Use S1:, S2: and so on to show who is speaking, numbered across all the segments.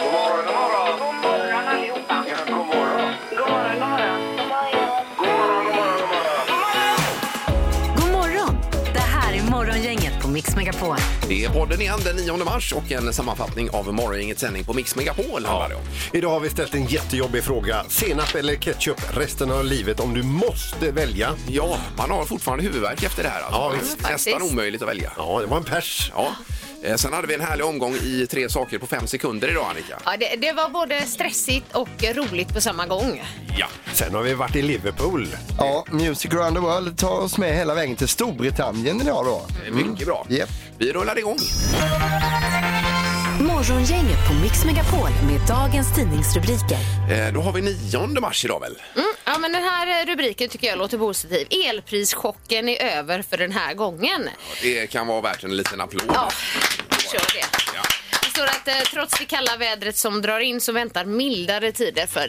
S1: God morgon, god morgon.
S2: God morgon allihopa.
S1: Ja, god morgon.
S2: God morgon, god morgon.
S1: God morgon, god morgon, god morgon.
S3: God morgon! Det här är Morgongänget på Mix Megapol.
S4: Det är podden igen den 9 mars och en sammanfattning av morgongängets sändning på Mix Megapol. handlar det om.
S5: Idag har vi ställt en jättejobbig fråga. Senap eller ketchup resten av livet om du måste välja?
S4: Ja, man har fortfarande huvudvärk efter det här. Alltså.
S5: Ja,
S4: Det är
S5: visst.
S4: Nästan
S6: Faktiskt.
S4: omöjligt att välja.
S5: Ja, det var en pers.
S4: Ja. Eh, Sen hade vi en härlig omgång i tre saker på fem sekunder idag, Annika.
S6: Ja, det, det var både stressigt och roligt på samma gång.
S4: Ja.
S5: Sen har vi varit i Liverpool.
S7: Ja, Music around the world tar oss med hela vägen till Storbritannien idag då.
S4: det är
S5: Mm.
S4: Mycket bra.
S7: Japp.
S4: Vi rullar igång.
S3: Morgongänget på Mix Megapol med dagens tidningsrubriker.
S4: Eh, Då har vi 9 mars idag väl?
S6: Mm. Ja, men den här eh, rubriken tycker jag låter positiv. Elprischocken är över för den här gången.
S4: Det kan vara värt en liten applåd.
S6: Ja, vi kör det. Det står att eh, trots det kalla vädret som drar in så väntar mildare tider för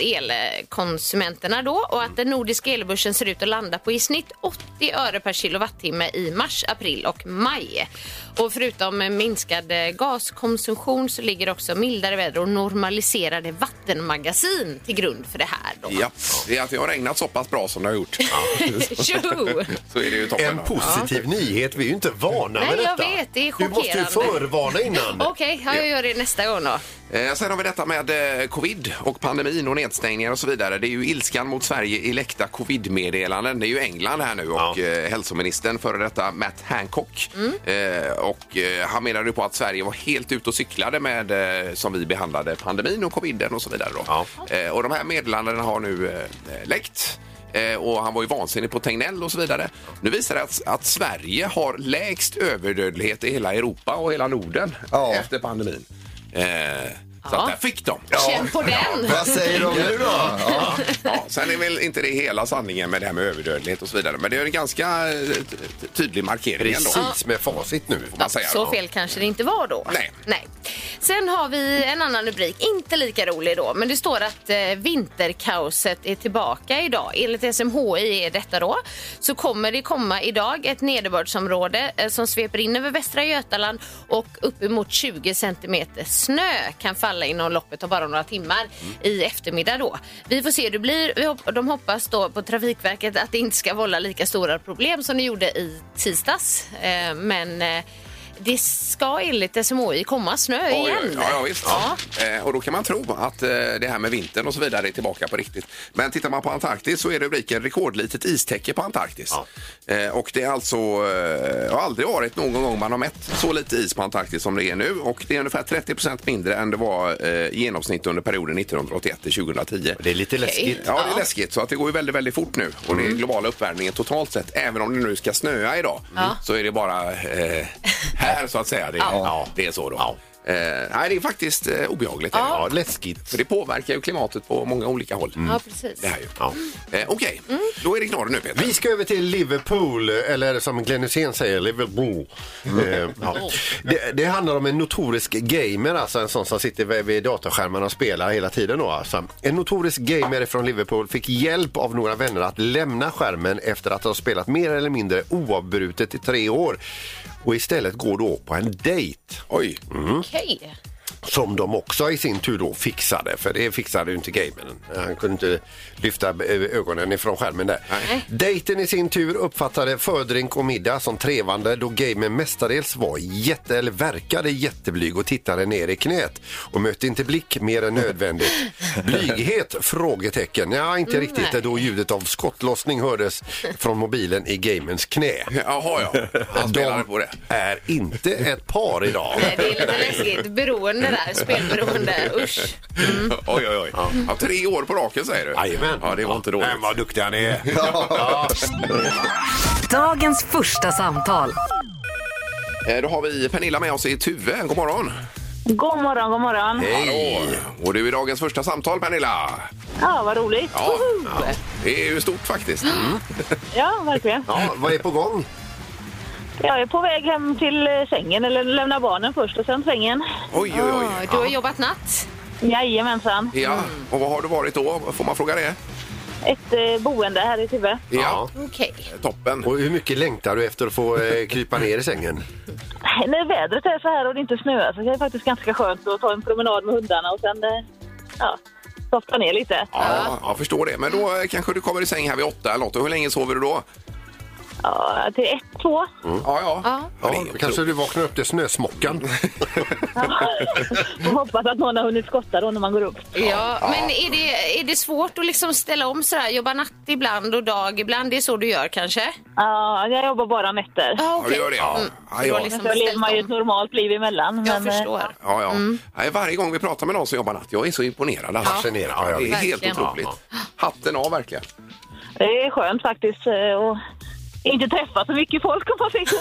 S6: elkonsumenterna då och att den nordiska elbörsen ser ut att landa på i snitt 80 öre per kilowattimme i mars, april och maj. Och förutom eh, minskad eh, gaskonsumtion så ligger också mildare väder och normaliserade vattenmagasin till grund för det här då.
S4: Ja, det är att det har regnat så pass bra som det har gjort.
S6: Tjo!
S4: Så är det ju toppen.
S5: En positiv nyhet. Vi är ju inte vana
S6: Nej,
S5: med
S6: jag
S5: detta.
S6: vet. Det är
S5: Du måste ju
S6: chockerande.
S5: förvarna innan.
S6: Okej, ja, jag gör det nästa gång då.
S4: Eh, Sen har vi detta med eh, covid och pandemin och nedstängningar och så vidare. Det är ju ilskan mot Sverige i läckta covid-meddelanden. Det är ju England här nu och
S5: Ja.
S4: eh, hälsoministern före detta Matt Hancock. Eh, och eh, han menade ju på att Sverige var helt ute och cyklade med eh, som vi behandlade pandemin och coviden och så vidare. Då.
S5: Ja.
S4: Eh, och de här meddelandena har nu eh, läckt. Eh, Och han var ju vansinnig på Tegnell och så vidare. Nu visar det att, att Sverige har lägst överdödlighet i hela Europa och hela Norden
S7: Ja.
S4: efter pandemin. Eh, Så
S6: Ja.
S4: att där fick de.
S6: Känn på den!
S7: Vad säger de nu då? Ja.
S4: Ja, sen är väl inte det hela sanningen med det här med överdödlighet och så vidare. Men det är en ganska eh, t- t- tydlig markering ändå.
S5: Precis med facit nu.
S4: får man säga.
S6: Så fel kanske det inte var då.
S4: Nej.
S6: Sen har vi en annan rubrik, inte lika rolig då, men det står att eh, vinterkaoset är tillbaka idag. Enligt SMHI är detta då. Så kommer det komma idag ett nederbördsområde eh, som sveper in över Västra Götaland och uppemot 20 centimeter snö kan falla inom loppet av bara några timmar i eftermiddag då. Vi får se hur det blir. Vi hop- de hoppas då på Trafikverket att det inte ska vålla lika stora problem som det gjorde i tisdags. Eh, men eh, det ska enligt SMHI komma snö
S4: Oj, oj,
S6: igen.
S4: oj. Ja, ja, visst. Eh, Och då kan man tro att eh, det här med vintern och så vidare är tillbaka på riktigt. Men tittar man på Antarktis så är rubriken rekordlitet istäcke på Antarktis. Eh, Och det är alltså, eh, har aldrig varit någon gång man har mätt så lite is på Antarktis som det är nu. Och det är ungefär 30 procent mindre än det var eh, i genomsnitt under perioden 1981 till 2010.
S5: Det är lite läskigt.
S4: Ja, det är läskigt. Så att det går ju väldigt, väldigt fort nu. Och det är globala uppvärmningen totalt sett. Även om det nu ska snöa idag så är det bara eh, här så att säga. Det, ja. det är så då. Eh, nej, det är faktiskt eh, obehagligt. är det.
S5: Ja, läskigt.
S4: För det påverkar ju klimatet på många olika håll.
S6: Mm. Ja, precis.
S4: Det här ju.
S5: Ja.
S4: Eh, Okej, då är det knorr nu Peter.
S5: Vi ska över till Liverpool, eller som Glenn Hysén säger, Liverpool. Eh, ja. det, det handlar om en notorisk gamer, alltså en sån som sitter vid, vid datorskärmen och spelar hela tiden. Då, alltså. En notorisk gamer från Liverpool fick hjälp av några vänner att lämna skärmen efter att ha spelat mer eller mindre oavbrutet i tre år och istället går då på en dejt.
S4: Oj,
S6: Okej.
S5: Som de också i sin tur då fixade, för det fixade ju inte gamern. Han kunde inte lyfta eh, ögonen ifrån skärmen där. Dejten i sin tur uppfattade fördrink och middag som trevande då gamern mestadels var jätte, eller verkade jätteblyg och tittade ner i knät och mötte inte blick mer än nödvändigt. Blyghet? Frågetecken. Ja,
S4: Mm,
S5: inte riktigt
S6: Nej.
S5: då ljudet av skottlossning hördes från mobilen i gamerns knä.
S4: jaha ja. Han spelade på det.
S5: är inte ett par idag.
S6: Nej, Det är lite läskigt. Beroende där. Spelberoende. Usch.
S4: Oj, oj, oj. Ja, tre år på raken säger du?
S5: Jajamän.
S4: Ja, det var inte dåligt.
S5: Men vad duktig han är.
S3: Dagens första samtal.
S4: Eh, Då har vi Pernilla med oss i Tuve. God morgon!
S2: God morgon, god morgon.
S4: Hallå! Och du är dagens första samtal Pernilla.
S2: Ja, vad roligt.
S4: Ja, ja. det är ju stort faktiskt. Mm.
S2: Ja, verkligen.
S5: Ja, vad är på gång?
S2: Jag är på väg hem till eh, sängen, eller lämna barnen först och sen sängen.
S4: Oj, oj,
S6: Ah,
S4: oj.
S6: Du har jobbat natt.
S2: Jajamensan.
S4: Ja, och vad har du varit då? Får man fråga det?
S2: Ett eh, boende här i Tuve.
S4: Ja,
S6: Okej.
S4: toppen.
S5: Och hur mycket längtar du efter att få eh, krypa ner i sängen?
S2: när vädret är så här och det inte snöar så är det faktiskt ganska skönt att ta en promenad med hundarna och sen eh, ja, softa ner lite.
S4: Ja, jag förstår det. Men
S6: Mm.
S4: då eh, kanske du kommer i säng här vid åtta eller något. Och hur länge sover du då?
S2: Ja, till ett, två.
S4: Ja, ja.
S6: Ja.
S4: det är
S5: Ja,
S4: otroligt.
S5: kanske du vaknar upp till snösmockan.
S2: Och hoppas att någon har hunnit skotta då när man går upp.
S6: Ja, men är det, är det svårt att liksom ställa om sådär? Jobba natt ibland och dag ibland? Det är så du gör kanske?
S2: Ja, jag jobbar bara nätter.
S6: Ja,
S4: Ja, du gör det, ja. Ja, ja.
S6: Du har liksom
S2: Så lever
S6: ställt
S2: man ju ett
S6: om.
S2: normalt liv emellan.
S6: Jag
S2: men, eh,
S6: förstår.
S4: Ja, ja.
S6: Mm.
S4: Nej, varje gång vi pratar med någon som jobbar natt, jag är så imponerad. Alltså.
S5: Fascinerad, ja, ja,
S4: det är helt
S6: verkligen.
S4: otroligt. Hatten av verkligen.
S2: Det är skönt faktiskt eh, att inte träffa så mycket folk om man säger så.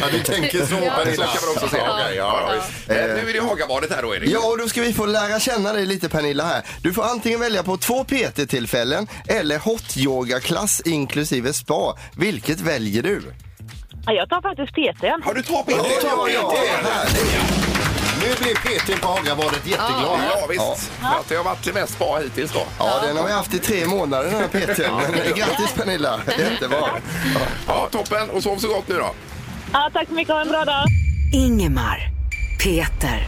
S5: Ja, du tänker så.
S6: Ja.
S5: Pernilla.
S4: Så kan man också se.
S5: Ja, okej, ja, ja, visst.
S4: Eh, Nu är det Hagabadet här då, Erik.
S7: Ja, och då ska vi få lära känna dig lite Pernilla här. Du får antingen välja på två PT-tillfällen eller hot yoga-klass inklusive spa. Vilket väljer du?
S2: Ja, Jag tar faktiskt PT'n.
S4: Har du tagit in det?
S5: ja, ja.
S7: härligt. Ah,
S5: Nu blir PT på Hagabadet jätteglad.
S4: Ja, visst. För att det har varit mest spa hittills då.
S7: Ja, den har vi haft i tre månader den här PT'n. Men, eh, Grattis Pernilla, jättebra.
S4: Ja, toppen. Och sov så gott nu då.
S2: Ja, tack så mycket, ha en bra dag.
S3: Ingemar, Peter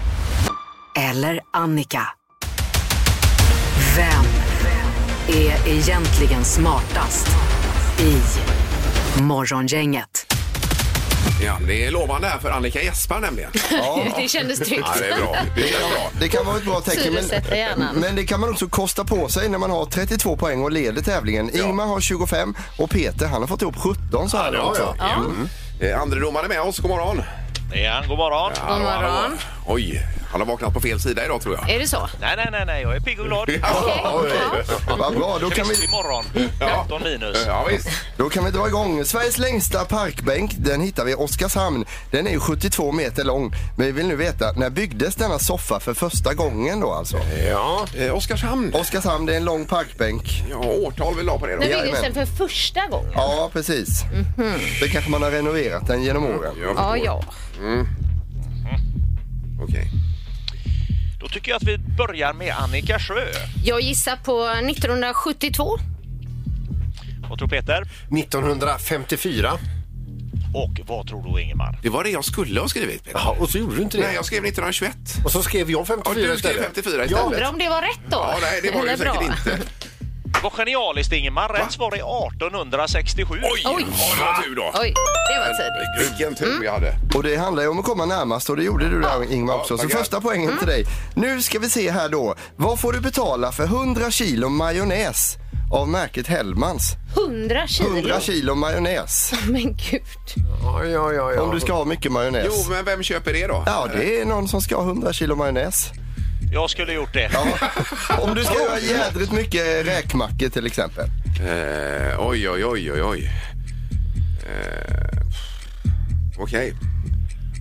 S3: eller Annika. Vem är egentligen smartast i Morgongänget?
S4: Ja, det är lovande här för Annika Jesper nämligen.
S6: Det kändes tryggt.
S4: Ja, det är bra. Det är bra.
S7: Det kan vara ett bra tecken.
S6: Syresätta hjärnan.
S7: Men, men det kan man också kosta på sig när man har 32 poäng och leder tävlingen. Ingmar har 25 och Peter han har fått ihop 17 så här
S4: Ja,
S7: långt.
S4: ja. Mm. Eh, Andre domaren är med oss. God morgon.
S8: Ja, god morgon.
S6: God morgon.
S4: Oj, han har vaknat på fel sida idag tror jag.
S6: Är det så?
S8: Nej, nej, nej, nej, jag är pigg och glad.
S7: Vad bra, då kan, vi,
S8: Kryss imorgon. 15 minus.
S4: Ja, visst.
S7: då kan vi dra igång. Sveriges längsta parkbänk, den hittar vi i Oskarshamn. Den är ju 72 meter lång. Men vi vill nu veta, när byggdes denna soffa för första gången då alltså?
S5: Ja.
S4: Eh, Oskarshamn.
S7: Oskarshamn, det är en lång parkbänk.
S4: Ja, årtal vi la på det då.
S6: När
S7: Ja,
S6: byggdes den
S7: jajamän.
S6: för första gången?
S7: Ja, precis.
S6: Mhm.
S7: Det kanske man har renoverat den genom åren.
S4: Jag
S6: Ja,
S4: förstår.
S6: ja.
S4: Okej.
S8: Då tycker jag att vi börjar med Annika Sjö.
S6: Jag gissar på 1972.
S8: Vad tror Peter?
S5: 1954.
S8: Och vad tror du Ingemar?
S4: Det var det jag skulle ha skrivit. Peter.
S5: Ja, och så gjorde du inte det.
S4: Nej, jag skrev 1921.
S5: Och så skrev jag
S4: Ja,
S5: 54
S4: du skrev
S5: istället.
S4: 54 istället.
S6: Undrar om det var rätt då?
S4: Ja, nej, det var det ju
S6: Eller
S4: säkert
S6: bra.
S4: inte.
S8: Det var genialiskt Ingemar. Rätt svar är 1867.
S4: Oj!
S6: Oj.
S4: Ja, det var tur då.
S6: Oj, det var tidigt.
S4: Vilken tur vi hade.
S7: Och det handlar ju om att komma närmast och det gjorde du där Ingmar också. Så
S4: tackar.
S7: första poängen till dig. Nu ska vi se här då. Vad får du betala för 100 kilo majonnäs av märket Hellmans?
S6: 100 kilo.
S7: 100 kilo majonnäs.
S6: Men gud.
S5: Ja, ja, ja, ja.
S7: Om du ska ha mycket majonnäs.
S4: Jo, men vem köper det då?
S7: Ja, det är någon som ska ha 100 kilo majonnäs.
S8: Jag skulle gjort det.
S7: Om du ska göra jädrigt mycket räkmackor till exempel.
S4: Eh, oj, oj, oj, oj, oj. Eh, Okej.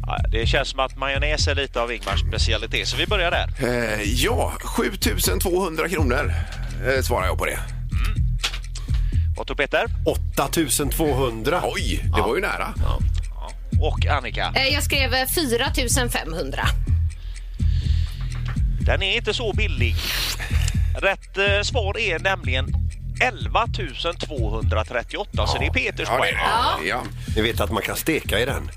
S8: Ja, Det känns som att majonnäs är lite av Ingmars specialitet, så vi börjar där.
S4: Eh, ja, 7200 kronor eh, svarar jag på det.
S8: Vad tror Peter?
S5: 8200.
S4: Oj, det var ju nära.
S8: Och Annika?
S6: Eh, Jag skrev eh, 4500.
S8: Den är inte så billig. Rätt eh, svar är nämligen 11 238, så det är Peters
S4: Ja, det,
S8: poäng.
S4: ja. ja.
S5: Ni vet att man kan steka i den.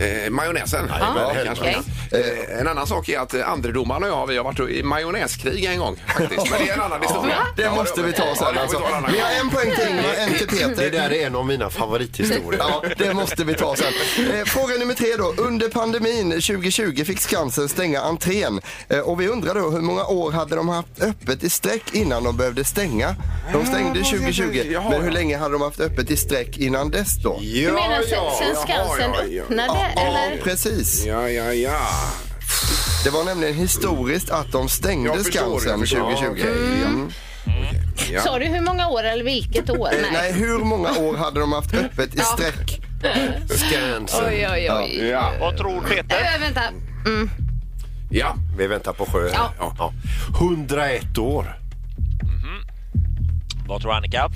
S4: Eh, majonnäsen.
S5: Ja,
S4: kanske.
S6: okej.
S4: eh, en annan sak är att eh, andredomaren och jag vi har varit i majonnäskrig en gång. Faktiskt. Men det är en annan historia.
S7: Det måste vi ta sen
S4: Ja, det får vi
S7: alltså.
S4: ta en annan
S7: Vi har
S4: gång.
S7: en poäng till Ingmar, en till
S5: Det
S7: Peter.
S5: där är en av mina favorithistorier.
S7: Ja, det måste vi ta sen. Eh, fråga nummer tre då. Under pandemin 2020 fick Skansen stänga entrén. Eh, och vi undrar då hur många år hade de haft öppet i sträck innan de behövde stänga? De stängde
S4: Ja,
S7: 2020,
S4: jaha.
S7: men hur länge hade de haft öppet i sträck innan dess då?
S5: Ja,
S6: du menar sen, sen
S4: jaha,
S6: Skansen
S4: ja, ja.
S6: öppnade?
S7: Ja,
S6: eller?
S7: precis.
S4: Ja, ja, ja.
S7: Det var nämligen historiskt att de stängde
S4: Jag förstår,
S7: Skansen
S4: jag förstår.
S7: 2020. Mm.
S4: Ja.
S6: Sa du hur många år eller vilket år?
S7: Eh, Nej, hur många år hade de haft öppet i sträck?
S5: Skansen.
S6: Oj, oj, oj.
S4: Ja.
S8: Vad tror Peter?
S6: Äh, vänta.
S4: ja.
S5: Vi väntar på sjö.
S6: Ja.
S5: Ja. 101 år.
S8: Vad tror Annika?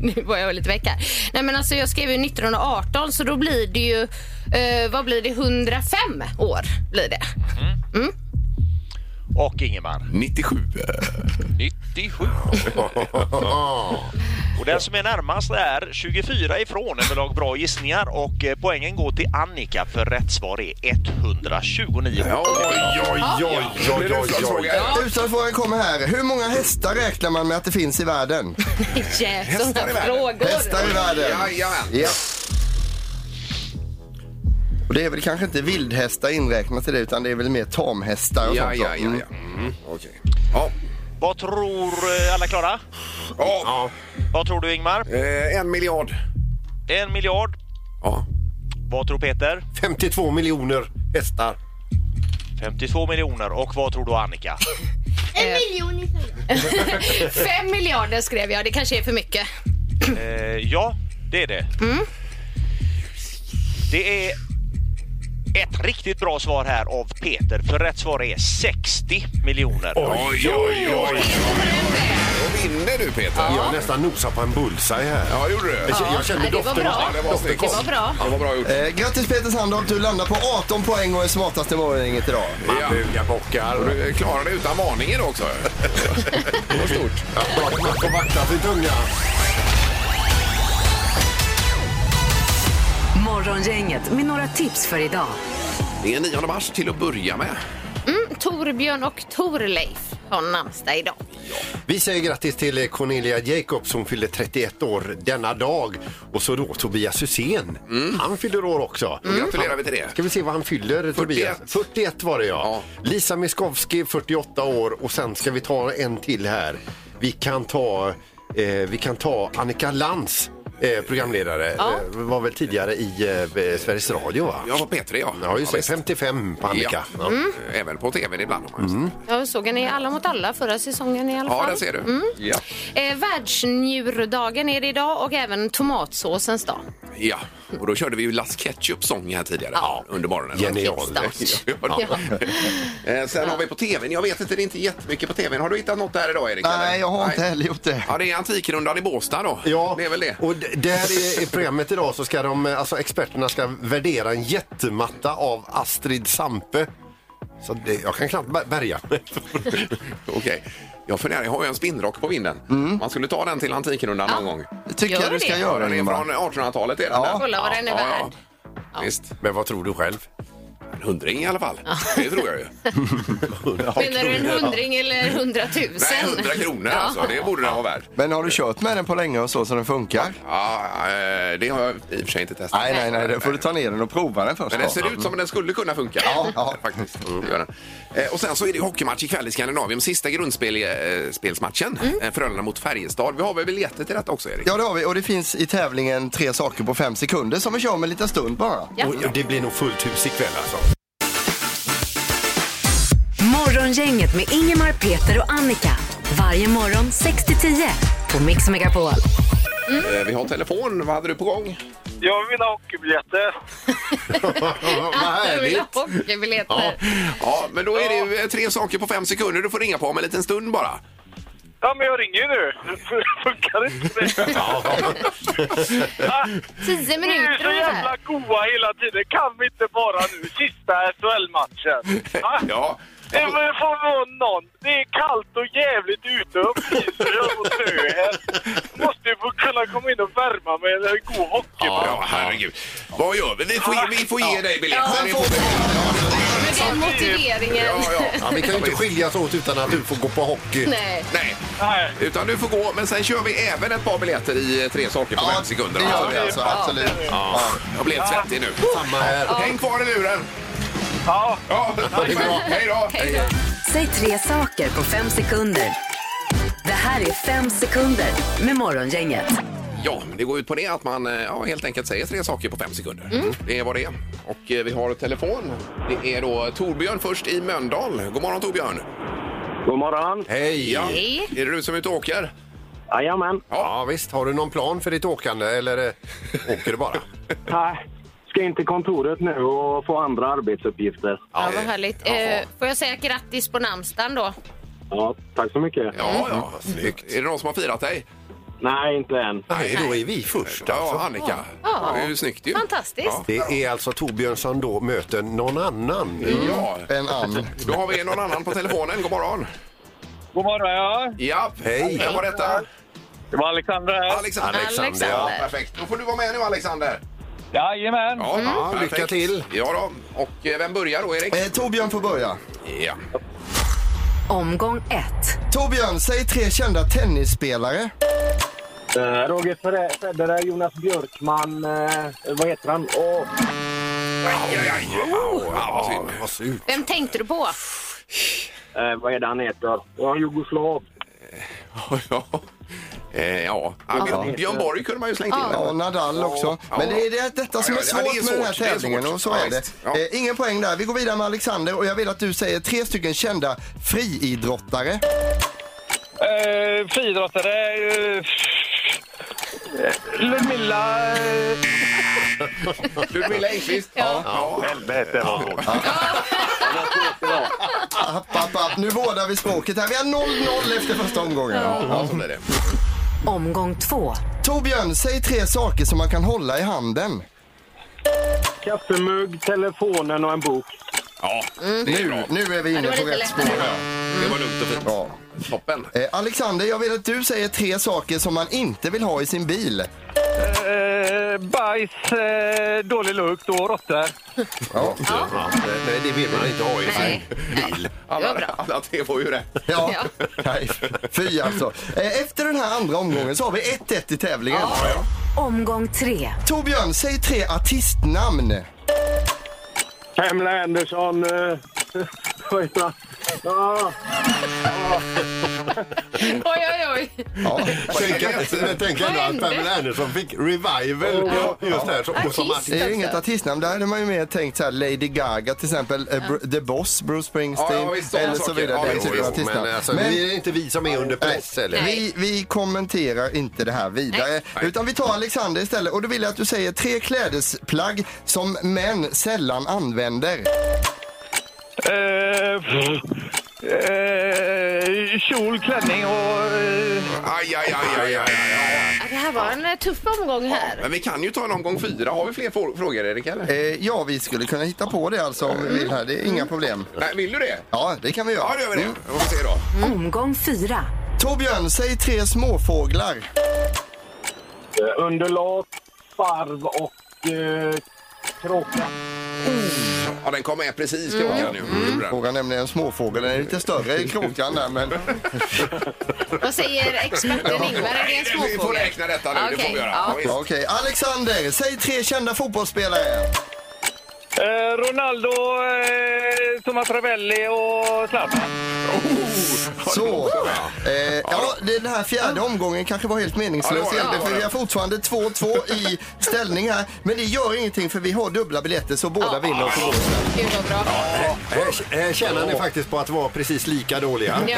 S6: Nu var jag lite väck här. Nej, men alltså, jag skrev ju 1918, så då blir det ju... Eh, vad blir det? 105 år blir det.
S8: Och Ingemar?
S4: 97.
S8: 97. Och den som är närmast är 24 ifrån överlag bra gissningar och eh, poängen går till Annika för rätt svar är 129.
S4: Ja, oj, oj, oj, oj, oj, oj, oj.
S7: Utslagsfrågan kommer här. Hur många hästar räknar man med att det finns i världen?
S6: Yes,
S4: Hästar i
S6: sådana
S4: världen.
S6: frågor.
S7: Hästar i världen.
S4: Jajamän.
S7: Ja. Och det är väl kanske inte vildhästar inräknat i det utan det är väl mer tamhästar och
S4: Ja,
S7: sånt.
S4: ja, ja,
S7: Mm.
S4: ja. Mm, Okej. Ja.
S8: Vad tror eh, alla klara?
S4: Ja.
S8: Vad tror du Ingmar?
S4: Eh, En miljard.
S8: En miljard.
S4: Ja.
S8: Vad tror Peter?
S5: 52 miljoner hästar.
S8: 52 miljoner. Och vad tror du Annika?
S9: En miljon i
S6: Fem miljarder skrev jag, det kanske är för mycket. Hm,
S8: Eh, ja, det är det.
S10: Mm.
S8: Det är ett riktigt bra svar här av Peter, för rätt svar är 60 miljoner.
S4: Oj, oj, oj. Då vinner du, Peter.
S5: Jag nästan nosar på en bullseye här.
S4: Ja, gjorde du.
S5: Jag känner- Jag kände
S6: nej, det var
S5: doften.
S6: bra.
S4: Det var snyggt.
S6: Det var bra.
S4: Ja, Det var bra gjort.
S7: Eh, grattis Peter Sandholt, du landar på 18 poäng och är smartast i morgongänget idag.
S4: Ja.
S5: Man bugar bockar.
S4: Och Du klarar det utan varning idag också. Det var stort.
S5: Ja, bra. Man får vakta sin tunga.
S3: Morgongänget med några tips för idag.
S4: Det är 9 mars till att börja med.
S6: Torbjörn och Torleif har namnsdag idag.
S5: Vi säger grattis till Cornelia Jacobs. Hon fyllde 31 år denna dag. Och så då Tobias Hysén. Han fyller år också.
S4: Mm.
S5: Mm.
S4: Då gratulerar vi till det.
S5: Ska vi se vad han fyller, 41. Tobias? 41 var det, ja.
S4: Ja.
S5: Lisa Miskovsky, 48 år. Och sen ska vi ta en till här. Vi kan ta, eh, vi kan ta Annika Lantz, eh, programledare. Eh, var väl tidigare i eh, Sveriges Radio, va?
S4: Jag var P3, ja.
S5: Ja, just det.
S4: visst.
S5: 55 på Annika.
S4: Ja.
S5: Ja.
S4: Även på tv ibland. Mm.
S6: Jag såg henne i Alla mot alla förra säsongen i alla fall.
S4: Ja, där ser du.
S6: Mm.
S4: Ja.
S6: Eh, världsnjurdagen är det idag och även tomatsåsens dag.
S4: ja, och då körde vi ju Las Ketchup-sång här tidigare
S6: Ja.
S4: under morgonen.
S5: Genial.
S4: Ja, ja. Eh, Sen har vi på tvn, jag vet inte, det är inte jättemycket på tvn. Har du hittat något där idag Erik? eller?
S7: Nej, jag har inte heller gjort det.
S4: Ja, det är Antikrundan i Båstad då.
S5: Ja,
S4: Det är väl det.
S5: och d- där i, i programmet idag så ska de, eh, alltså experterna ska värdera en jättematta av Astrid Sampe. Så det, jag kan knappt bär- bärga mig.
S4: Okej. Jag funderar, jag har ju en spinnrock på vinden. Man skulle ta den till Antikrundan någon gång.
S7: Det tycker
S6: Gör
S7: jag du ska
S6: det.
S7: göra
S4: Den är
S7: Ingmar.
S4: från 1800-talet är den där.
S6: Kolla vad den är
S4: Ja, ja.
S6: värd.
S4: Visst,
S5: Men vad tror du själv?
S4: en hundring i alla fall. Det tror jag ju.
S6: Menar du en hundring eller hundratusen?
S4: Nej, 100 kronor alltså. Det borde den vara värd.
S7: Men har du kört med den på länge och så så den funkar?
S4: Ja, eh, det har jag i och för sig inte testat.
S7: Nej, nej, nej. Då får du ta ner den och prova den först.
S4: Men alltså, den
S7: då.
S4: ser ut som om den skulle kunna funka.
S7: Ja, Mm. ja.
S4: faktiskt. Det gör den. Eh, Och sen så är det ju hockeymatch ikväll i Skandinavien. Sista grundspelsmatchen. eh, Frölunda mot Färjestad. Vi har väl biljetter till detta också, Erik?
S7: Ja, det har vi. Och det finns i tävlingen tre saker på fem sekunder som vi kör om en liten stund bara.
S6: Ja.
S5: Och det blir nog fullt hus ikväll alltså.
S3: Morgongänget med Ingemar, Peter och Annika. Varje morgon 6 till 10 på Mix Megapol.
S4: Eh, Vi har telefon. Vad hade du på gång?
S1: Jag vill ha hockeybiljetter.
S5: Vad
S6: Du vill
S5: härligt!
S6: ha hockeybiljetter.
S4: Ja, men då är det ju eh, tre saker på fem sekunder. Du får ringa på om en liten stund bara.
S1: Ja, men jag ringer ju nu. Funkar inte det?
S6: Tio
S1: Ni är
S6: minuter
S1: så jävla
S6: ungefär.
S1: goa hela tiden. Kan vi inte bara nu? Sista SHL-matchen. Va?
S4: Ja.
S1: Det får vara någon. Det är kallt och jävligt ute och fryser och snö här. Måste ju få kunna komma in och värma mig eller gå och hockeymatch.
S4: Ja, herregud. Vad gör vi? Vi får ge, vi får ge dig biljetter. Det får vi.
S6: Men den motiveringen.
S4: Ja, ja.
S5: Ja, vi kan ju inte skiljas åt utan att du får gå på hockey.
S6: Nej.
S4: Nej,
S1: Nej.
S4: utan du får gå. Men sen kör vi även ett par biljetter i eh, tre saker på fem sekunder.
S7: Det gör
S4: Alltså,
S7: vi
S4: det-
S7: alltså, absolut.
S4: Ja, jag blev svettig nu.
S5: Samma här.
S4: Häng kvar i luren!
S1: Ja.
S4: Ja, det är bra. Hej då!
S3: Säg tre saker på fem sekunder. Det här är fem sekunder med Morgongänget.
S4: Ja, det går ut på det att man eh, ja, helt enkelt säger tre saker på fem sekunder. Det är vad det är. Och eh, vi har telefon. Det är då Torbjörn först i Mölndal. God morgon Torbjörn!
S11: God morgon.
S5: Hej! Ja.
S6: Hej.
S4: Är det du som är ute och åker?
S11: Jajamän.
S5: visst. Har du någon plan för ditt åkande eller eh, åker du bara?
S11: Nej, ska in till kontoret nu och få andra arbetsuppgifter.
S6: Ja, vad härligt. Eh, får jag säga grattis på namnsdagen då?
S11: Ja, tack så mycket.
S4: Ja, ja.
S5: Snyggt.
S4: Är det någon som har firat dig?
S11: Nej, inte än.
S5: Nej, då är vi först
S4: Ja,
S5: alltså.
S4: Annika.
S6: Ja.
S4: Det är ju snyggt ju.
S6: Fantastiskt.
S4: Ja.
S5: Det är alltså Torbjörn som då möter någon annan.
S4: Ja,
S7: En ann. Eh,
S4: då har vi någon annan på telefonen. God morgon!
S1: God morgon, ja.
S4: Ja,
S5: Hej.
S4: Vem var detta?
S12: Det var Alexander här.
S4: Alexander.
S12: Alexander.
S4: Ja, perfekt. Då får du vara med nu, Alexander.
S12: Jajamän.
S4: Ja, ja,
S12: Mm.
S4: perfekt.
S12: Lycka till.
S4: Ja då. Och eh, vem börjar då, Erik?
S7: Eh, Torbjörn får börja.
S4: Ja.
S3: Omgång ett.
S7: Torbjörn, säg tre kända tennisspelare.
S11: Roger Federer- Federer, Jonas Björkman, eh, vad heter han? Och...
S4: Aj, aj, aj. Au, au, vad synd.
S6: Vem tänkte du på?
S11: Eh, vad är det han heter? Ja, jugoslav.
S4: Eh, ja.
S7: Ja.
S4: Björn- Björn Borg kunde man ju slängt in.
S7: Ja, Nadal också.
S4: Ja.
S7: Men det är det, detta som
S4: Ja,
S7: är
S4: ja, ja, det
S7: svårt med den här
S4: svårt. Det är
S7: tävlingen
S4: svårt.
S7: och så
S4: Ja,
S7: är det.
S4: visst. Ja.
S7: Eh, ingen poäng där. Vi går vidare med Alexander och jag vill att du säger tre stycken kända friidrottare.
S12: Eh, Friidrottare. eh, Ludmilla... eh,
S4: Ludmilla Engqvist?
S12: Ja.
S11: Helvete vad svårt.
S7: App, app, app. Nu vårdar vi språket här. Vi har 0-0 efter första omgången.
S4: Ja, så blir det.
S3: Omgång två.
S7: Torbjörn, säg tre saker som man kan hålla i handen.
S11: Kaffemugg, telefonen och en bok.
S4: Ja,
S7: Mm.
S4: det är bra.
S7: Nu är vi
S6: Ja, det
S7: inne
S6: var
S7: på
S6: lite
S7: rätt spår.
S6: lättare.
S4: Det var lugnt och fint.
S7: Ja.
S4: Toppen.
S7: Eh, Alexander, jag vill att du säger tre saker som man inte vill ha i sin bil.
S12: eh, Bajs, eh, dålig lukt och råttor.
S7: Ja,
S5: Ja, nej, det vill man inte ha i sin
S6: Nej.
S5: bil.
S6: Det var
S4: Alla,
S6: bra.
S4: alla tre var ju rätt.
S7: ja.
S6: Ja.
S7: Nej, fy alltså. Eh, Efter den här andra omgången så har vi 1-1 i tävlingen.
S3: Omgång tre.
S7: Torbjörn, säg tre artistnamn.
S11: Pamela Anderson, eh, vad heter han? Ja,
S6: Oj, oj, oj.
S7: Ja.
S5: Tänk att- men Tänk ändå att
S6: hände?
S5: Pamela Anderson fick revival just där. som- och som
S6: Artist.
S7: Det är ju inget artistnamn. Där hade man ju mer tänkt så här Lady Gaga till exempel, eh, Br- The Boss, Bruce Springsteen
S4: Ja, ja, visst, sådana
S7: eller så
S4: saker.
S7: vidare.
S4: Ja,
S7: Den
S4: visst,
S7: typen av
S4: visst.
S7: artistnamn.
S5: Men alltså,
S7: Men-
S5: det är inte vi som är under press. Eller?
S7: Vi, vi kommenterar inte det här vidare. Utan vi tar Alexander istället. Och då vill jag att du säger tre klädesplagg som män sällan använder.
S12: Eh, pff, eh, Kjol, klänning och... eh,
S4: Aj, aj, aj, aj, aj, aj.
S6: Ja, Det här var en eh, tuff omgång här.
S4: Men vi kan ju ta en omgång fyra. Har vi fler for- frågor, Erik? Eller?
S7: Eh, ja, vi skulle kunna hitta på det alltså om vi vill här. Det är inga problem.
S4: Nej, vill du det?
S7: Ja, det kan vi göra. Mm.
S4: Ja, det gör vi det. Då får vi se då.
S3: Omgång fyra.
S7: Torbjörn, säg tre småfåglar.
S11: eh, underlag, sparv och eh, kråka.
S4: Ja, den kom med precis,
S6: Mm.
S4: kråkan. ju. Gjorde den.
S7: Frågan är nämligen småfågel. Den är lite större i kråkan där, men...
S6: Vad säger experten Ingvar? Är det en
S4: Vi får
S6: småfågel?
S4: räkna detta nu. Det får
S6: Okej,
S4: vi göra.
S6: ja.
S4: Ja, visst.
S7: Ja, Okej, Alexander, säg tre kända fotbollsspelare.
S12: Eh, Ronaldo, eh, Thomas Ravelli och Zlatan.
S7: Så. Eh, ja, det- den här fjärde omgången kanske var helt meningslös
S4: Ja, det var det, det
S7: egentligen,
S4: var
S7: för
S4: det.
S7: vi har fortfarande 2-2 i ställning här. Men det gör ingenting för vi har dubbla biljetter så båda vinner och får gå.
S6: Gud vad bra.
S5: Här- Här tjänar ni faktiskt på att vara precis lika dåliga.
S6: Ja.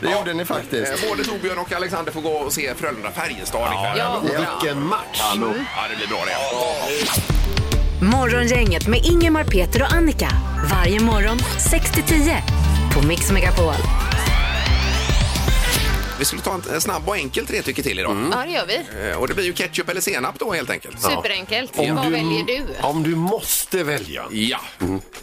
S7: Det gjorde ni faktiskt.
S4: Eh, Både Torbjörn och Alexander får gå och se Frölunda-Färjestad ikväll.
S6: Ja.
S5: Och Vilken match!
S4: Ja, det blir bra det.
S3: Morgongänget med Ingemar, Peter och Annika. Varje morgon 6 till 10 på Mix Megapol.
S4: Vi skulle ta en en snabb och enkel tre tycker till idag.
S6: Ja, det gör vi.
S4: Eh, Och det blir ju ketchup eller senap då helt enkelt.
S6: Superenkelt. Vad väljer du?
S5: Om du måste välja.
S4: Ja,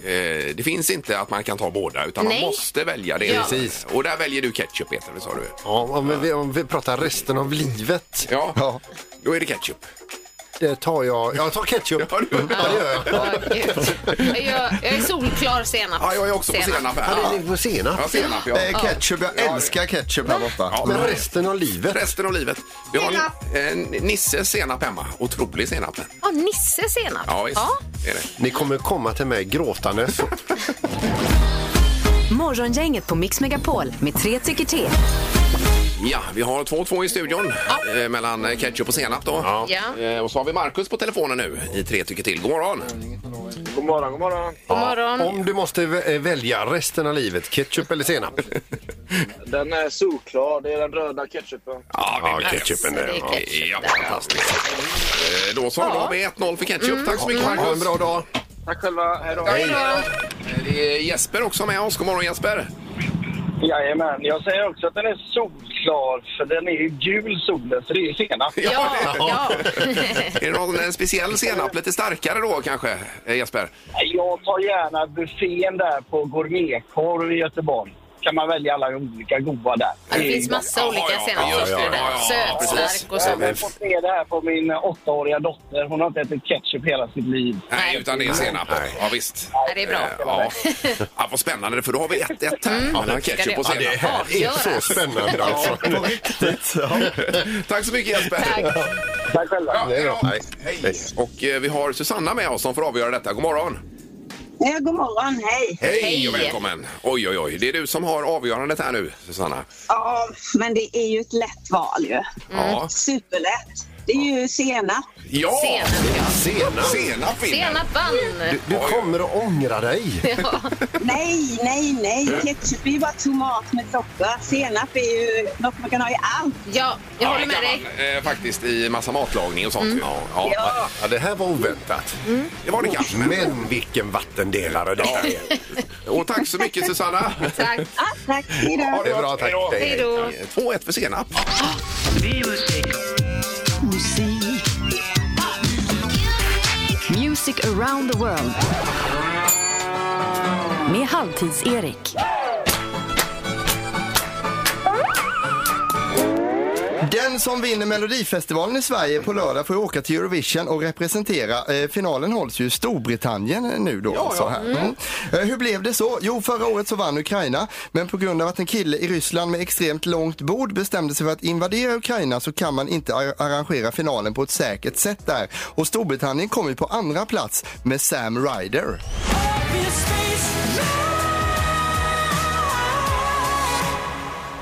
S4: eh, det finns inte att man kan ta båda utan
S6: Nej.
S4: man måste välja det.
S6: Ja.
S5: Precis.
S4: Och där väljer du ketchup Peter, det sa du.
S5: Ja, om, vi, om vi pratar resten av livet.
S4: Ja.
S7: Ja.
S4: då är det ketchup.
S5: Det tar jag... Jag tar ketchup.
S4: Ja, du-
S5: Ja, det gör jag.
S6: Ja, gud. Jag, jag är solklar senap.
S4: Ja, jag är också på senap här.
S5: Ja, det ligger på senap.
S4: Ja, senap ja.
S7: Eh, ketchup, jag älskar ketchup här borta.
S4: Ja,
S5: Men resten av livet.
S4: Resten av livet. Vi har eh, Nisses senap hemma. Otrolig senap.
S6: Ja, Ah, Nisse senap.
S4: Ja, visst.
S6: Ja.
S4: Det är det.
S5: Ni kommer komma till mig gråtandes.
S3: Morgongänget på Mix Megapol med tre tycker till.
S4: Ja, vi har 2-2 i studion eh, mellan eh, ketchup och senap då.
S6: Ja.
S4: Eh, Och så har vi Markus på telefonen nu i tre tycker till. God morgon!
S11: God morgon, god morgon.
S6: God morgon.
S5: Om du måste vä- eh, välja resten av livet, ketchup eller senap?
S11: Den är solklar. Det är den röda ketchupen.
S4: Ja,
S5: Ja, ketchupen
S6: det är
S5: är...
S6: ketchup.
S4: Ja, fantastiskt. Eh, Då så, då har vi 1-0 för ketchup.
S6: Mm.
S4: Tack så mycket, Marcus.
S5: Ha en bra dag.
S11: Tack själva. Hej då.
S6: Hej då.
S4: Eh, Det är Jesper också med oss. God morgon, Jesper.
S11: Jajamän. Jag säger också att den är solklar, för den är ju gul solen, så det är senap.
S6: Ja, ja.
S4: Är det någon eh, speciell senap? Lite starkare då kanske, eh, Jesper?
S11: Jag tar gärna buffén där på gourmetkorv i Göteborg. kan man välja alla olika goda där.
S6: Det finns massa olika senapssorter där. Sötstark och
S11: Jag har
S6: sånt.
S11: fått se det här på min åttaåriga dotter. Hon har inte ätit ketchup hela sitt liv.
S4: Nej, utan det är senap. Ja, visst.
S6: Ja, det är bra.
S4: Eh, Ja. ja, vad spännande, för då har vi 1-1 här.
S6: Mm.
S4: Mellan
S6: Ska
S4: ketchup
S6: det
S4: och senap.
S6: avgöras? Ja, det är så
S5: spännande, alltså.
S4: Ja, på riktigt. Tack så mycket Jesper. Tack,
S11: själva.
S4: Ja, hej, då. hej. Och eh, vi har Susanna med oss som får avgöra detta. God morgon.
S10: Ja, god morgon, hej!
S4: Hej och välkommen. Oj, oj, oj. Det är du som har avgörandet här nu, Susanna.
S10: Ja, men det är ju ett lätt val ju.
S6: Mm.
S4: Ja.
S10: Superlätt. Det är ju senap.
S4: Ja!
S10: Senap, ja.
S5: Senap.
S4: Senap
S6: Senap vann.
S5: Du, du kommer att ångra dig.
S10: Nej, nej, nej. Ketchup är ju bara tomat med socker. Senap är ju något man kan ha i allt.
S6: Ja, jag håller med dig.
S4: Eh, faktiskt i massa matlagning och sånt.
S6: Mm.
S4: Ja,
S10: Ja.
S5: Ja, det här var oväntat.
S4: Det var det kanske.
S5: Men vilken vattendelare detta är.
S4: Och tack så mycket Susanna.
S6: Tack.
S10: Ja, Ah, tack. Hej då.
S5: Ha det bra, tack.
S4: Hej då. 2-1 för senap.
S3: Musik. Music around the world. Med Halvtids-Erik.
S7: Den som vinner Melodifestivalen i Sverige på lördag får ju åka till Eurovision och representera. Eh, finalen hålls ju i Storbritannien nu då. alltså här. Mm. Eh, hur blev det så? Jo, förra året så vann Ukraina, men på grund av att en kille i Ryssland med extremt långt bord bestämde sig för att invadera Ukraina så kan man inte ar- arrangera finalen på ett säkert sätt där. Och Storbritannien kom ju på andra plats med Sam Ryder.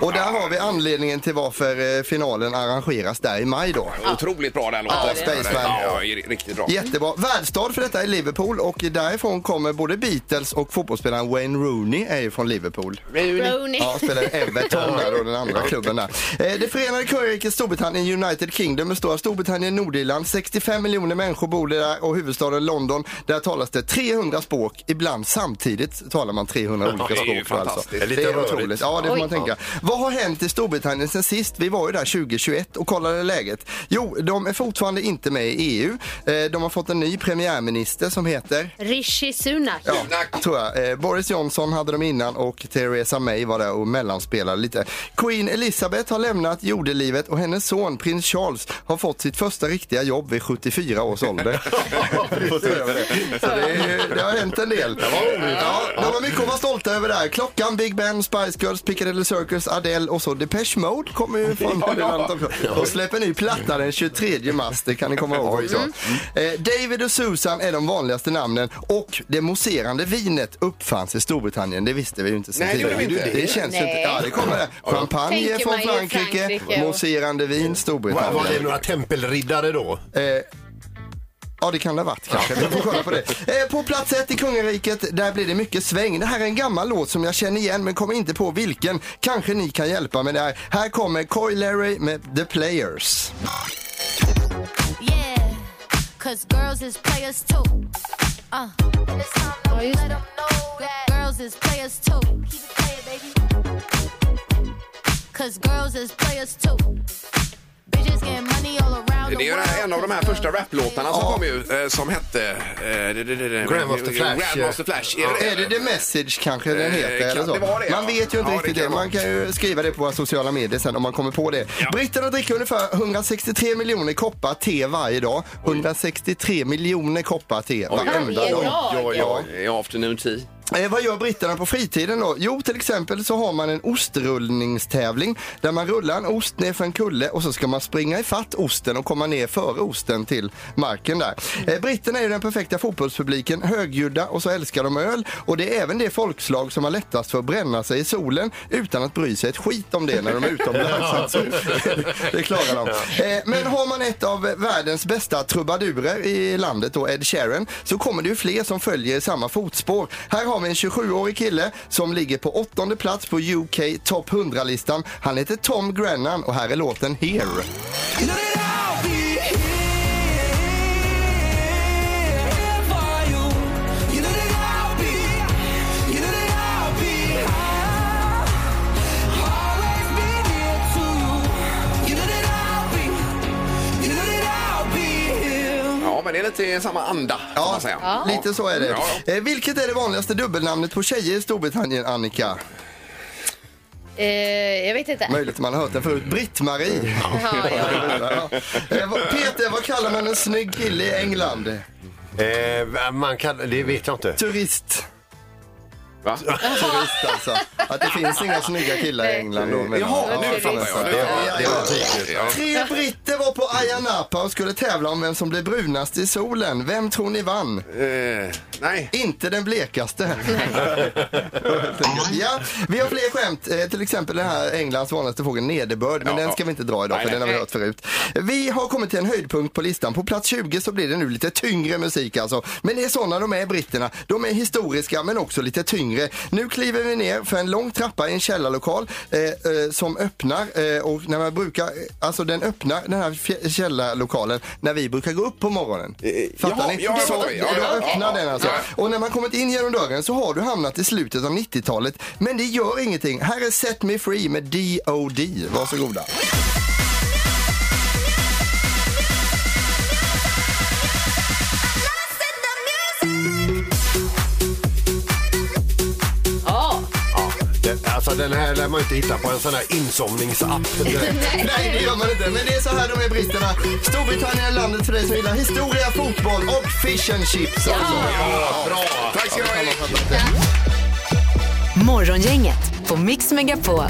S7: Och där har vi anledningen till varför eh, finalen arrangeras där i maj då.
S4: Otroligt bra den
S7: Ja,
S4: låten.
S7: Spaceman.
S4: Ja, riktigt bra.
S7: Jättebra. Värdstad för detta är Liverpool och därifrån kommer både Beatles och fotbollsspelaren Wayne Rooney är ju från Liverpool.
S6: Rooney.
S7: Ja, spelar i Everton där då, den andra klubben där. Eh, Det förenade kungariket Storbritannien United Kingdom består av Storbritannien och Nordirland. 65 miljoner människor bor där och huvudstaden London, där talas det 300 språk. Ibland samtidigt talar man 300
S5: Ja,
S7: olika
S5: det är ju
S7: språk. då, alltså.
S5: fantastiskt.
S7: Det
S5: Det är lite
S7: är
S5: rörigt.
S7: otroligt. Ja, det får
S5: Oj.
S7: man tänka. Vad har hänt i Storbritannien sen sist? Vi var ju där 2021 och kollade läget. Jo, de är fortfarande inte med i EU. Eh, De har fått en ny premiärminister som heter
S6: Rishi Sunak.
S7: Ja, tror jag. Eh, Boris Johnson hade de innan och Theresa May var där och mellanspelade lite. Queen Elizabeth har lämnat jordelivet och hennes son prins Charles har fått sitt första riktiga jobb vid 74 års ålder. Så det, är, ju- det har hänt en del. Ja, de har mycket att vara stolta över där. Klockan, Big Ben, Spice Girls, Piccadilly Circus, Adele och så Depeche Mode kommer ju från Nordirland också. Och släpper ny platta den 23 mars, det kan ni komma ihåg också.
S4: Mm.
S7: Eh, David och Susan är de vanligaste namnen och det mousserande vinet uppfanns i Storbritannien. Det visste vi ju inte sen
S4: Nej, det gjorde vi inte.
S7: Det känns ju inte.
S4: Nej.
S7: Ja, det kommer det. Champagne
S6: Tänker
S7: från
S6: man ju
S7: Frankrike,
S6: Frankrike och-
S7: mousserande vin Storbritannien.
S5: Var, var det några tempelriddare då?
S7: Eh, Ja, det kan det ha varit kanske. Vi får kolla på det. Eh, på plats ett i kungariket, där blir det mycket sväng. Det här är en gammal låt som jag känner igen men kommer inte på vilken. Kanske ni kan hjälpa mig där. Här kommer Coy Larry med The Players.
S13: Yeah, cause girls is players too. Uh, it's time that we let 'em know that girls is players too. Keep it playing, baby. Cause girls is players too. Bitches getting money all around
S4: Det
S13: the
S4: är ju
S13: world.
S4: en av de här första raplåtarna som kom ju, eh, som hette... eh, det- det- det-
S7: Grandmaster Flash.
S4: Grandmaster Flash.
S7: Ja. Är det The Message kanske den
S4: Eh,
S7: heter?
S4: kan
S7: eller så?
S4: det vara det,
S7: man
S4: ja?
S7: vet ju inte
S4: Ja,
S7: riktigt
S4: det
S7: det.
S4: kan
S7: Man kan ju skriva det på våra sociala medier sen om man kommer på det. Britterna dricker ungefär 163 miljoner koppar te varje dag. 163 miljoner koppar te varenda dag. Ja.
S4: I afternoon tea.
S7: Eh, vad gör britterna på fritiden då? Jo, till exempel så har man en ostrullningstävling där man rullar en ost ner för en kulle och så ska man springa i fatt osten och komma ner före osten till marken där. Eh, britterna är ju den perfekta fotbollspubliken, högljudda och så älskar de öl och det är även det folkslag som har lättast för att bränna sig i solen utan att bry sig ett skit om det när de är utomlands. Alltså, det klarar de. Eh, men har man ett av världens bästa trubadurer i landet, då Ed Sheeran, så kommer det ju fler som följer i samma fotspår. Här har vi en 27-årig kille som ligger på åttonde plats på UK Top 100-listan. Han heter Tom Grennan och här är låten Here.
S4: Ja, men det är lite samma anda kan man säga.
S7: Ja, lite så är det.
S4: Ja,
S7: Eh, vilket är det vanligaste dubbelnamnet på tjejer i Storbritannien, Annika?
S6: Eh, jag vet inte.
S7: Möjligt att man har hört den förut. Britt-Marie.
S6: Ja,
S7: Ja. Eh, vad- Peter, vad kallar man en snygg kille i England?
S5: Eh, man kan, det vet jag inte.
S7: Turist.
S4: Va?
S7: Turist alltså. Att det finns inga snygga killar i England då. menar
S5: Jaha,
S7: jag.
S5: nu
S7: Ja,
S5: fattar jag.
S7: ja,
S5: Det var-
S7: ja,
S5: det var
S7: ja.
S5: tydligt, ja.
S7: Tre britter var på Ayia Napa och skulle tävla om vem som blev brunast i solen. Vem tror ni vann?
S4: eh, nej.
S7: Inte den blekaste. Helt enkelt. ja, vi har fler skämt. Eh, till exempel den här Englands vanligaste fågel, nederbörd. Men den ska vi inte dra idag
S5: Nej,
S7: för den har vi
S5: nej.
S7: hört förut. Vi har kommit till en höjdpunkt på listan. På plats 20 så blir det nu lite tyngre musik alltså. Men det är sådana de är britterna. De är historiska men också lite tyngre. Nu kliver vi ner för en lång trappa i en källarlokal eh, eh, som öppnar eh, och när man brukar, eh, alltså den öppnar den här fjä- källarlokalen när vi brukar gå upp på morgonen. Fattar
S4: jaha,
S7: ni?
S4: ja, jag
S7: så,
S4: fattar. Ja,
S7: då
S4: ja, ja,
S7: öppnar
S4: ja,
S7: den alltså.
S4: ja.
S7: Och när man kommit in genom dörren så har du hamnat i slutet av 90-talet. Men det gör ingenting. Här är Set Me Free med D.O.D. Varsågoda.
S6: Ja.
S5: Den- Alltså den här lär man ju inte hitta på en sån här insomningsapp.
S7: Nej, det gör man inte. Men det är så här de är britterna. Storbritannien är landet för dig som gillar historia, fotboll och fish and chips. alltså. Ja,
S5: bra.
S4: Tack ska du ha.
S3: Morgongänget på Mix Megapol.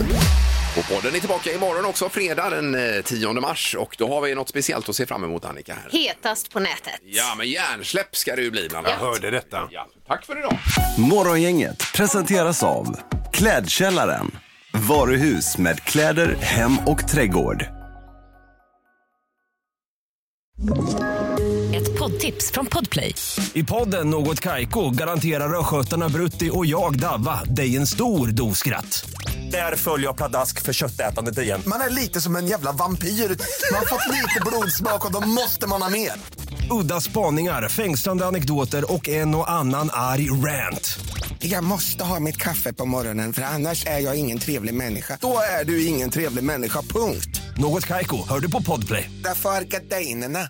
S4: Och podden är tillbaka imorgon också, fredag den eh, 10 mars. Och då har vi något speciellt att se fram emot, Annika. Här.
S6: Hetast på nätet.
S4: Ja, men järnsläpp ska det ju bli bland
S6: Jag
S4: annat. hörde detta. Ja. Tack för idag.
S14: Morgongänget presenteras av Klädkällaren. Varuhus med kläder, hem och trädgård.
S15: Ett poddtips från Podplay. I podden Något Kaiko garanterar östgötarna Brutti och jag, Davva, dig en stor dos skratt. Där följer jag pladask för köttätandet igen.
S16: Man är lite som en jävla vampyr. Man har fått lite blodsmak och då måste man ha mer.
S15: Udda spaningar, fängslande anekdoter och en och annan arg rant.
S16: Jag måste ha mitt kaffe på morgonen för annars är jag ingen trevlig människa. Då är du ingen trevlig människa, punkt.
S15: Något Kaiko, hör du på Podplay.
S16: Därför arkadeinerna.